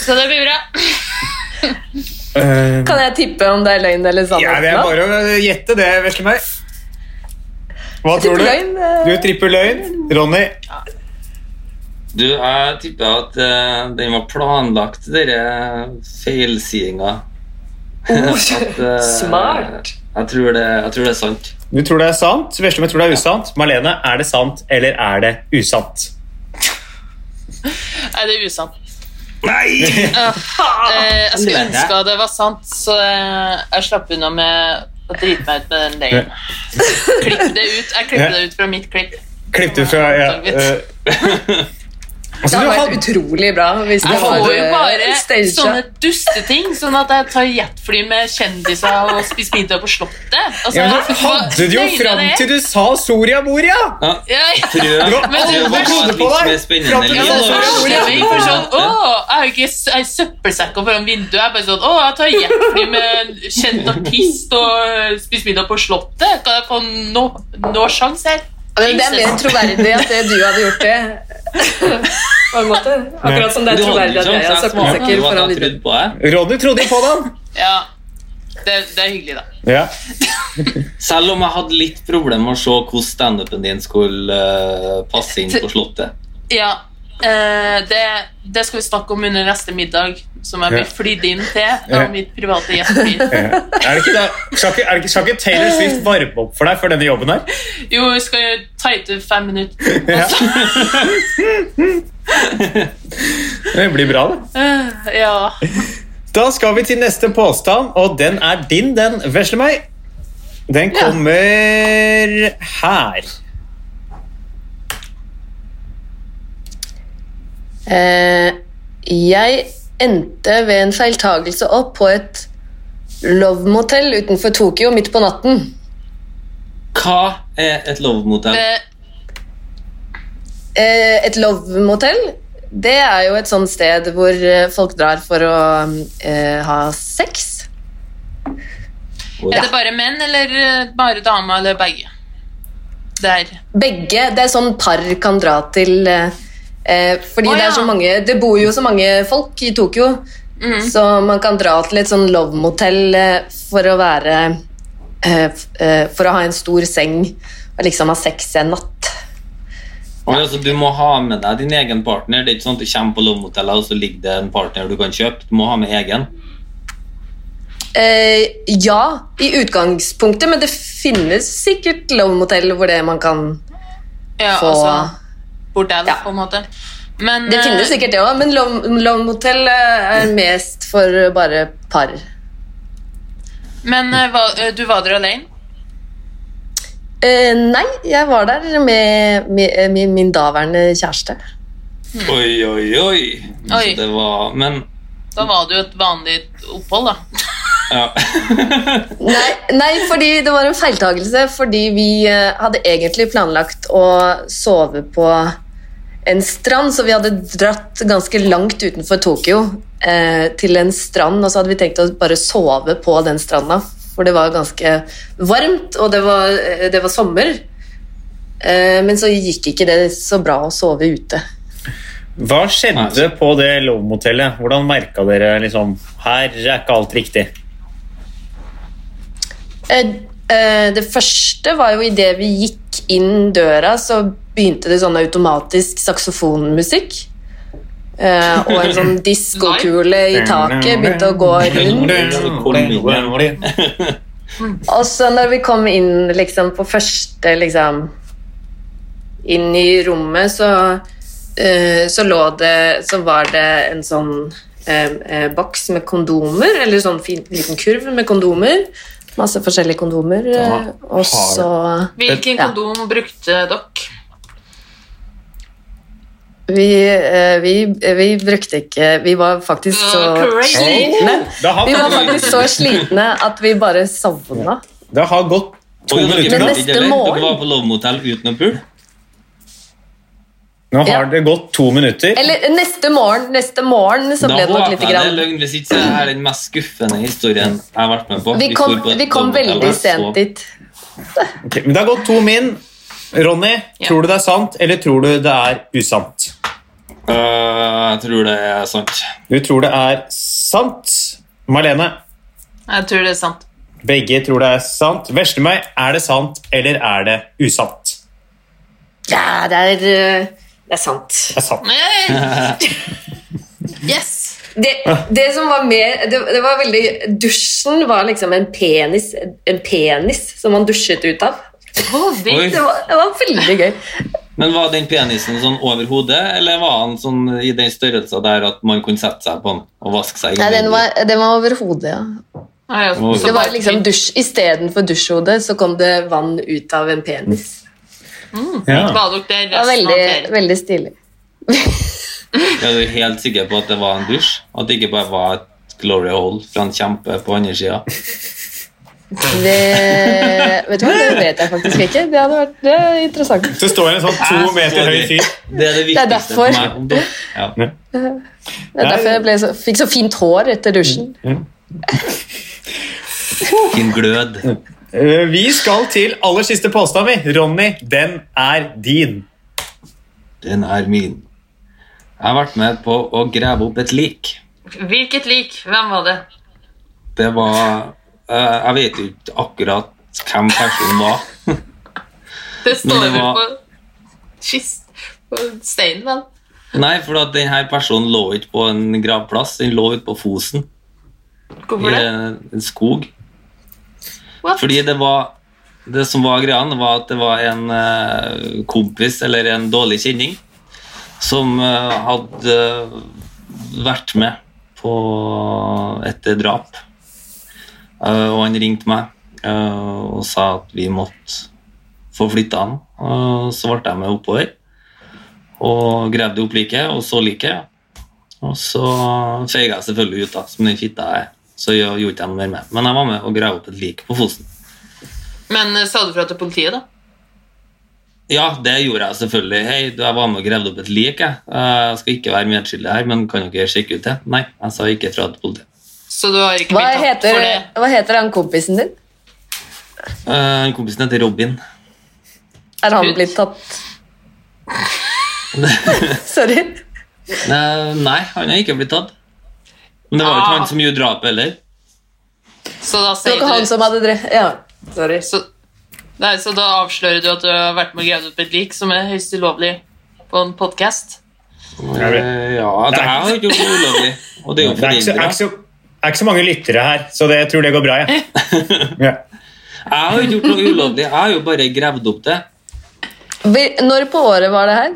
Speaker 5: Så det blir bra.
Speaker 2: Eh,
Speaker 4: Kan jeg tippe om det er løgn eller
Speaker 2: ja,
Speaker 4: sannhet?
Speaker 2: det er
Speaker 4: nå?
Speaker 2: bare å eh, gjette det, veslemøy. Hva tror du?
Speaker 4: Løgn, eh,
Speaker 2: Du tripper løgn. Ronny,
Speaker 3: Du, jeg tipper at eh, den var planlagt, denne feilsidinga. At, eh,
Speaker 4: Smart.
Speaker 3: Jeg tror, det, jeg tror det er sant.
Speaker 2: du tror det er sant. Veslemøy tror det er usant. Malene, er det sant eller er det usant?
Speaker 5: Nei, det er usant.
Speaker 3: Nei!
Speaker 5: Eh, jeg skulle ønske at det var sant, så eh, jeg slapp unna med å drite meg ut med den løgnen. Klipp det ut. Jeg klipper det ut fra mitt klipp.
Speaker 2: Klipp du fra ja, eh,
Speaker 4: Det
Speaker 2: [LAUGHS] altså, du
Speaker 4: hadde
Speaker 2: hadde,
Speaker 4: vært utrolig bra hvis det
Speaker 5: Jeg får jo
Speaker 4: var eh,
Speaker 5: bare sånne
Speaker 4: staged.
Speaker 5: dusteting, sånn at jeg tar jetfly med kjendiser og spiser middag på Slottet. Altså,
Speaker 2: ja, men du
Speaker 5: hva-
Speaker 2: hadde det jo
Speaker 5: løgner
Speaker 2: fram
Speaker 5: det?
Speaker 2: til du sa Soria Moria!
Speaker 3: Ja,
Speaker 5: Ja, ja.
Speaker 3: tror jeg.
Speaker 2: Du var
Speaker 3: Jeg tror
Speaker 5: alle
Speaker 3: det var
Speaker 2: hodet på deg.
Speaker 3: litt mer
Speaker 2: Fram
Speaker 3: spennende
Speaker 2: til
Speaker 5: Ja, men
Speaker 2: det
Speaker 3: liv.
Speaker 5: så
Speaker 2: var
Speaker 5: skjønner
Speaker 2: Soria
Speaker 5: jeg for sånn, å, jeg har jo ikke s- ei søppelsekk foran vinduet. Jeg er bare sånn, å, jeg tar jetfly med en kjent artist og eh, spiser middag på Slottet. Kan jeg få no, no sjanse her?
Speaker 4: Men det er mer troverdig at det du hadde gjort det.
Speaker 5: [LAUGHS]
Speaker 4: På en måte. Akkurat som det er
Speaker 3: Du holder
Speaker 4: troverdig
Speaker 3: ikke,
Speaker 4: at
Speaker 3: sånn
Speaker 4: jeg har
Speaker 3: så jeg smaker jo at
Speaker 4: søppelsekker
Speaker 3: jeg
Speaker 4: foran
Speaker 3: har
Speaker 4: vinduet.
Speaker 3: trodd på deg.
Speaker 2: Ronny trodde på den!
Speaker 5: Ja, det, det er hyggelig da.
Speaker 2: Ja.
Speaker 3: Selv om jeg hadde litt problemer med å se hvordan standupen din skulle eh, passe inn på Slottet.
Speaker 5: Ja, eh, det, det skal vi snakke om under neste middag, som jeg
Speaker 2: Ja.
Speaker 5: blir flydd inn til
Speaker 2: Ja.
Speaker 5: av mitt private gjestfly.
Speaker 2: Er det ikke da, skal, ikke, er det ikke, skal ikke Taylor Swift varme opp for deg for denne jobben her?
Speaker 5: Jo, vi skal jo tighte fem minutter. [LAUGHS]
Speaker 2: Ja. Det blir bra, det.
Speaker 5: Eh, Ja.
Speaker 2: Da skal vi til neste påstand, og den er din, den, vesle meg. Den kommer her.
Speaker 4: Eh, jeg endte ved en feiltagelse opp på et love motel utenfor Tokyo midt på natten.
Speaker 3: Hva er et lovemotell?
Speaker 5: Eh,
Speaker 4: Eh, et love motel, det er jo et sånt sted hvor eh, folk drar for å eh, ha sex.
Speaker 3: Oi.
Speaker 5: Er det bare menn, eller eh, bare damer, eller begge? Der.
Speaker 4: Begge. Det er sånn par kan dra til eh, eh, Fordi
Speaker 5: Å,
Speaker 4: det er
Speaker 5: ja.
Speaker 4: så mange Det bor jo så mange folk i Tokyo,
Speaker 5: Mhm.
Speaker 4: så man kan dra til et sånn love motel eh, for å være eh, f- eh, For å ha en stor seng og liksom ha sex en natt.
Speaker 3: Oi, altså, du må ha med deg din egen partner. Det er ikke sånn at du kommer på lovemotellet og så ligger det en partner du kan kjøpe. Du må ha med egen.
Speaker 4: Eh, ja, i utgangspunktet, men det finnes sikkert lovemotell hvor det man kan
Speaker 5: Ja,
Speaker 4: få
Speaker 5: altså bordell,
Speaker 4: Ja.
Speaker 5: på en måte. Men
Speaker 4: Det
Speaker 5: eh,
Speaker 4: finnes sikkert det òg, men lov- lovemotell eh, er mest for bare par.
Speaker 5: men eh, hva- eh, du var der alene?
Speaker 4: Eh, nei, jeg var der med, med, eh, min- min daværende kjæreste.
Speaker 3: Oi, oi, oi. Så
Speaker 5: Hmm. Oi.
Speaker 3: det var Men
Speaker 5: Da var det jo et vanlig opphold, da.
Speaker 3: ja.
Speaker 4: Nei, nei, fordi det var en feiltagelse. Fordi vi eh, hadde egentlig planlagt å sove på en strand, så vi hadde dratt ganske langt utenfor Tokyo eh, til en strand, og så hadde vi tenkt å bare sove på den stranda, for det var ganske varmt, og det var, eh, det var sommer. Eh, men så gikk ikke det så bra å sove ute.
Speaker 2: Hva skjedde på det lovmotellet? Hvordan merka dere liksom Her er ikke alt riktig.
Speaker 4: Eh, eh, Det første var jo idet vi gikk inn døra, så begynte det sånn automatisk saksofonmusikk. Eh, og en sånn diskokule i taket begynte å gå rundt. [LAUGHS] Og så når vi kom inn liksom, på første liksom, Inn i rommet, så, eh, så lå det Så var det en sånn eh, eh, boks med kondomer, eller sånn fin, liten kurv med kondomer. Masse forskjellige kondomer. eh,
Speaker 2: Da
Speaker 4: og så
Speaker 5: Hvilken
Speaker 4: Ja.
Speaker 5: kondom brukte dere?
Speaker 4: vi, eh, vi, vi brukte ikke Vi var faktisk så
Speaker 5: Ah, crazy.
Speaker 4: slitne.
Speaker 2: Det har,
Speaker 4: Vi var faktisk så slitne at vi bare sovna.
Speaker 2: det har gått to
Speaker 3: Oi, dere,
Speaker 2: minutter
Speaker 4: Men
Speaker 2: nå.
Speaker 3: vet
Speaker 4: neste
Speaker 3: ikke, eller?
Speaker 4: morgen-
Speaker 3: dere var på lovemotell uten å pule?
Speaker 2: Nå har det gått to minutter.
Speaker 4: Eller neste morgen, neste morgen så
Speaker 3: Da
Speaker 4: ble det nok
Speaker 3: håper
Speaker 4: lite
Speaker 3: jeg det er
Speaker 4: grann.
Speaker 3: løgn. Hvis ikke så er det her den mest skuffende historien jeg har vært med på.
Speaker 4: Vi kom,
Speaker 3: for på et
Speaker 4: vi kom
Speaker 3: lovemotell,
Speaker 4: veldig
Speaker 3: og så-
Speaker 4: sent dit.
Speaker 2: Ok, men det har gått to min. Ronny,
Speaker 5: Ja.
Speaker 2: tror du det er sant, eller tror du det er usant?
Speaker 3: Øh, jeg tror det er sant.
Speaker 2: Du tror det er sant. Marlene,
Speaker 5: Jeg tror det er sant.
Speaker 2: begge tror det er sant. Vesle meg, er det sant, eller er det usant?
Speaker 4: Ja, det er, eh, det er sant.
Speaker 2: Det er sant.
Speaker 5: [LAUGHS] Yes!
Speaker 4: Det, det som var mer det, det var veldig Dusjen var liksom en penis En penis som man dusjet ut av.
Speaker 5: Holding.
Speaker 3: Oi.
Speaker 4: Det var, det var veldig gøy.
Speaker 3: Men var den penisen sånn over hodet, eller var han sånn i den størrelsen der at man kunne sette seg på den og vaske seg?
Speaker 4: Nei, den var, den var over hodet, ja.
Speaker 5: Nei, altså,
Speaker 3: Oi.
Speaker 5: så
Speaker 4: Det var
Speaker 5: bare-
Speaker 4: liksom dusj, Istedenfor dusjhodet så kom det vann ut av en penis.
Speaker 2: Ja.
Speaker 5: Badet dere
Speaker 4: Det var
Speaker 5: resten av
Speaker 4: veldig,
Speaker 5: ferien?
Speaker 4: veldig stilig.
Speaker 3: Er du helt sikker på at det var en dusj? At det ikke bare var et glory hole fra en kjempe på andre sida?
Speaker 4: Det, vet du hva, det vet jeg faktisk ikke. Det hadde vært det er interessant.
Speaker 2: Det står en sånn to meter høy fyr.
Speaker 3: Det er det
Speaker 4: er
Speaker 3: viktigste
Speaker 4: derfor.
Speaker 3: for meg. om det. Ja.
Speaker 4: Det er derfor jeg ble så, fikk så fint hår etter dusjen.
Speaker 3: Din glød.
Speaker 2: Eh, Vi skal til aller siste påstand, vi. Ronny, den er din.
Speaker 3: Den er min. Jeg har vært med på å grave opp et lik.
Speaker 5: Hvilket lik? Hvem var det?
Speaker 3: Det var eh, Jeg vet jo ikke akkurat hvem personen var.
Speaker 5: Det står
Speaker 3: det
Speaker 5: jo
Speaker 3: var-
Speaker 5: på kist... På steinen, vel?
Speaker 3: Nei, for at denne personen lå ikke på en gravplass. Den lå ute på Fosen, i
Speaker 5: Hvorfor det?
Speaker 3: eh, en skog.
Speaker 5: What?
Speaker 3: Fordi det var Det som var greia, det var at det var en eh, kompis eller en dårlig kjenning som eh, hadde eh, vært med på et drap. Eh, og han ringte meg eh, og sa at vi måtte få flytta han. Og så ble jeg med oppover og gravde opp liket og så liket. Og så feiga jeg selvfølgelig ut, da, som den fitta jeg er. Så jeg gjorde ikke jeg noe mer med. Men jeg var med og grave opp et lik på Fosen.
Speaker 5: Men eh, sa du fra til politiet, da?
Speaker 3: Ja, det gjorde jeg selvfølgelig. Hei, du, jeg var med og gravde opp et lik. Jeg. Eh, jeg skal ikke være medskyldig her, men kan dere sjekke ut det? Nei, jeg sa ikke fra til politiet.
Speaker 5: Så du har ikke
Speaker 4: Hva
Speaker 5: blitt tatt
Speaker 4: heter,
Speaker 5: for det?
Speaker 4: hva heter han kompisen din?
Speaker 3: Eh, kompisen heter Robin.
Speaker 4: Er han
Speaker 5: Ut.
Speaker 4: blitt tatt Sorry.
Speaker 3: Eh, nei, han har ikke blitt tatt. Men det var jo
Speaker 5: Ah.
Speaker 3: ikke han som gjorde drapet heller.
Speaker 5: Så da
Speaker 4: Det var
Speaker 5: sier
Speaker 4: ikke han
Speaker 5: du
Speaker 4: som hadde drept Ja, sorry.
Speaker 5: så, Nei, så da avslører du at du har vært med og gravd opp et lik, som er høyst ulovlig på en podkast?
Speaker 3: Eh, ja, at jeg har ikke gjort noe ulovlig. Og det er jo
Speaker 2: Det er ikke så, er
Speaker 3: foreldra.
Speaker 2: ikke så, er ikke så mange lyttere her, så det, jeg tror det går bra. Ja. Ja.
Speaker 3: Jeg har jo ikke gjort noe ulovlig. Jeg har jo bare gravd opp det.
Speaker 4: Hvil- Når på året var det her?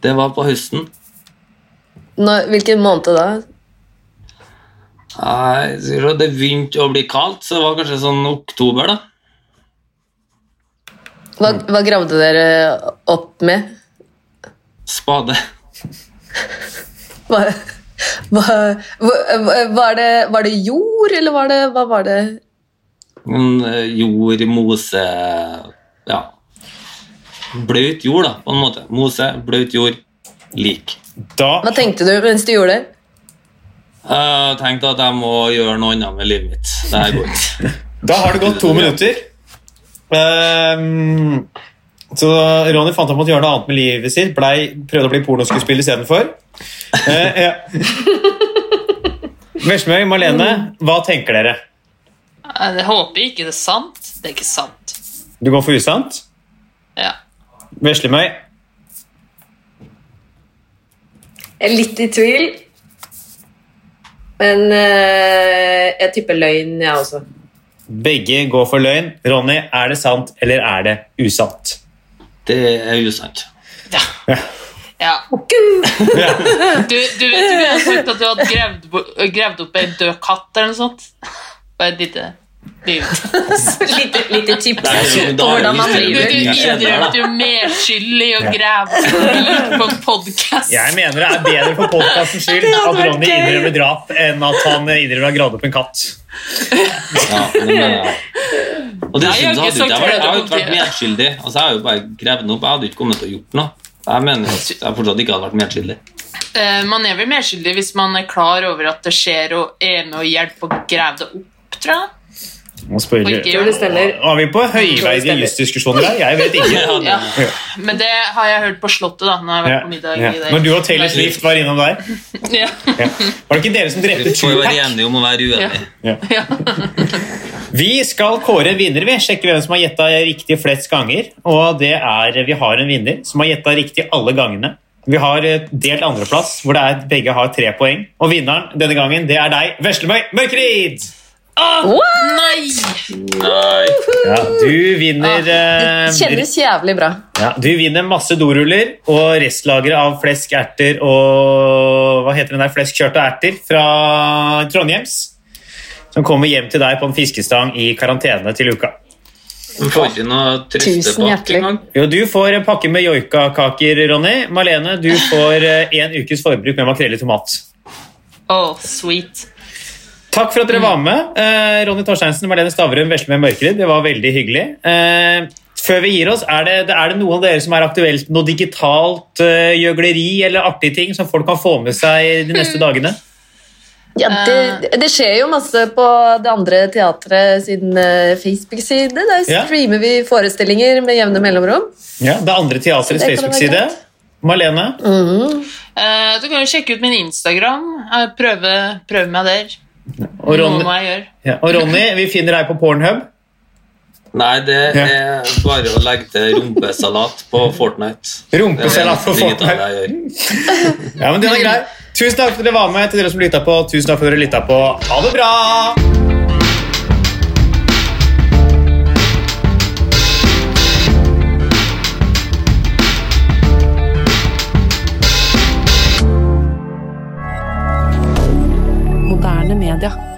Speaker 3: Det var på høsten.
Speaker 4: Når, hvilken måned da?
Speaker 3: Nei, sier du, det begynte å bli kaldt, så det var kanskje sånn oktober, da.
Speaker 4: Hva, hva gravde dere opp med?
Speaker 3: Spade.
Speaker 4: Hva, hva, hva- var, det, var det jord, eller var det Hva var det?
Speaker 3: Men, eh, jord, mose Ja. Bløt jord, da, på en måte. Mose, bløt jord, lik.
Speaker 2: Da
Speaker 4: Hva tenkte du mens du gjorde det?
Speaker 3: Jeg tenkte at jeg må gjøre noe annet med livet mitt. Det her går
Speaker 5: [LAUGHS]
Speaker 3: ikke.
Speaker 2: Da har det gått to minutter. Ehm, så Ronny fant opp å gjøre noe annet med livet sitt. Blei, prøvde å bli pornoskuespiller istedenfor. Uh, ja.
Speaker 4: [LAUGHS]
Speaker 2: Veslemøy, Marlene, hva tenker dere?
Speaker 5: Nei, Jeg håper ikke det er sant. Det er ikke sant.
Speaker 2: Du går for usant?
Speaker 5: Ja.
Speaker 2: Veslemøy?
Speaker 4: Jeg er litt i tvil. Men eh, jeg tipper løgn, jeg også.
Speaker 2: Begge går for løgn. Ronny, er det sant eller er det usant?
Speaker 3: Det er usant.
Speaker 5: ja.
Speaker 2: Ja.
Speaker 5: Du, du vet du har sagt at du hadde gravd, bo- gravd opp en død katt eller noe sånt? Bare et lite liv.
Speaker 4: [LAUGHS] Lite, lite tips
Speaker 3: Nei, men
Speaker 4: på
Speaker 3: da er det
Speaker 4: hvordan man
Speaker 3: jo
Speaker 5: Du,
Speaker 4: driver.
Speaker 5: du
Speaker 3: Jeg skjønner det, da.
Speaker 5: innrømte jo medskyld i å grave opp et lik på en podkast.
Speaker 2: Jeg mener det er bedre for podkastens
Speaker 4: [LAUGHS]
Speaker 2: skyld at
Speaker 4: vært
Speaker 2: Ronny
Speaker 4: gøy.
Speaker 2: innrømmer drap enn at han innrømmer å ha gravd opp en katt.
Speaker 3: Ja, det mener jeg. Og
Speaker 5: Nei, jeg
Speaker 3: dessuten så hadde jo ikke jeg
Speaker 5: har ikke
Speaker 3: vært- jeg
Speaker 5: sagt
Speaker 3: har jo ikke vært
Speaker 5: det.
Speaker 3: medskyldig. Altså, jeg har jo bare gravd den opp. Jeg hadde jo ikke kommet til å gjort noe. Jeg mener at jeg fortsatt ikke hadde vært medskyldig.
Speaker 5: Eh, Man er vel medskyldig hvis man er klar over at det skjer, og er med og hjelper å grave det opp, tror jeg.
Speaker 2: Nå spør
Speaker 5: Og ikke
Speaker 2: vi-
Speaker 5: gjør
Speaker 4: Tror det stemmer.
Speaker 2: Nå er vi på høyveide jusdiskusjoner her. Jeg vet ikke.
Speaker 3: Jeg hadde-
Speaker 5: Ja. Men det har jeg hørt på Slottet, da. Når jeg har vært på
Speaker 2: Ja.
Speaker 5: middag i
Speaker 2: Ja.
Speaker 5: dag.
Speaker 2: Når du og Taylor Swift var innom der,
Speaker 5: Ja.
Speaker 2: ja. var det ikke dere som drepte
Speaker 3: Vi får jo være
Speaker 2: Tupac?
Speaker 3: enige om å være uenige.
Speaker 5: Ja.
Speaker 2: Vi skal kåre en vinner, vi. Sjekke hvem som har gjetta riktig flest ganger. Og det er, vi har en vinner som har gjetta riktig alle gangene. Vi har eh, delt andreplass, hvor det er, begge har tre poeng. Og vinneren denne gangen, det er deg, Veslemøy Mørkerid!
Speaker 4: Wow!
Speaker 5: Nei!
Speaker 3: Nei.
Speaker 2: Ja, du
Speaker 3: Ah,
Speaker 2: vinner eh,
Speaker 4: Det kjennes jævlig bra.
Speaker 2: ja, Du vinner masse doruller og restlagre av flesk, erter og Hva heter den der? Flesk, kjørt og erter fra Trondheims. Som kommer hjem til deg på en fiskestang i karantene til uka.
Speaker 3: Vi får ikke noe
Speaker 4: Tusen
Speaker 3: trøstepakke
Speaker 4: hjertelig.
Speaker 3: engang.
Speaker 2: Jo, du får en pakke med joikakaker, Ronny. Malene, du får eh, en ukes forbruk med makrell i tomat.
Speaker 5: Oh, sweet.
Speaker 2: Takk for at dere
Speaker 4: Mm.
Speaker 2: var med. Eh, Ronny Torsteinsen og Marlene Stavrum, Veslemøy Mørkerud. Det var veldig hyggelig. Eh, før vi gir oss, er det, er det noen av dere som er aktuelt med noe digitalt eh, gjøgleri eller artige ting som folk kan få med seg de
Speaker 4: Mm.
Speaker 2: neste dagene?
Speaker 4: Ja, det, det skjer jo masse på det andre teatret sin eh, Facebook-side. Der
Speaker 2: Ja.
Speaker 4: streamer vi forestillinger med jevne mellomrom.
Speaker 2: Ja, Det andre teatrets
Speaker 4: Det kan være
Speaker 2: Facebook-side.
Speaker 4: greit. Mm.
Speaker 2: Malene,
Speaker 5: Eh, du kan jo sjekke ut min Instagram. Eh, prøve, prøve meg der.
Speaker 2: og
Speaker 5: Noe
Speaker 2: Ronny,
Speaker 5: må jeg gjøre.
Speaker 2: ja, og Ronny, vi finner deg på Pornhub.
Speaker 3: Nei, det
Speaker 2: Ja.
Speaker 3: er bare å legge til rumpesalat på Fortnite.
Speaker 2: Rumpesalat på
Speaker 3: Det er det
Speaker 2: Fortnhub.
Speaker 3: digitale jeg gjør.
Speaker 2: Ja, men den
Speaker 4: Mm.
Speaker 2: er grei. Tusen takk for at dere var med. Til dere som lytta på, tusen takk for at dere lytta på. Ha det bra!
Speaker 6: Moderne media.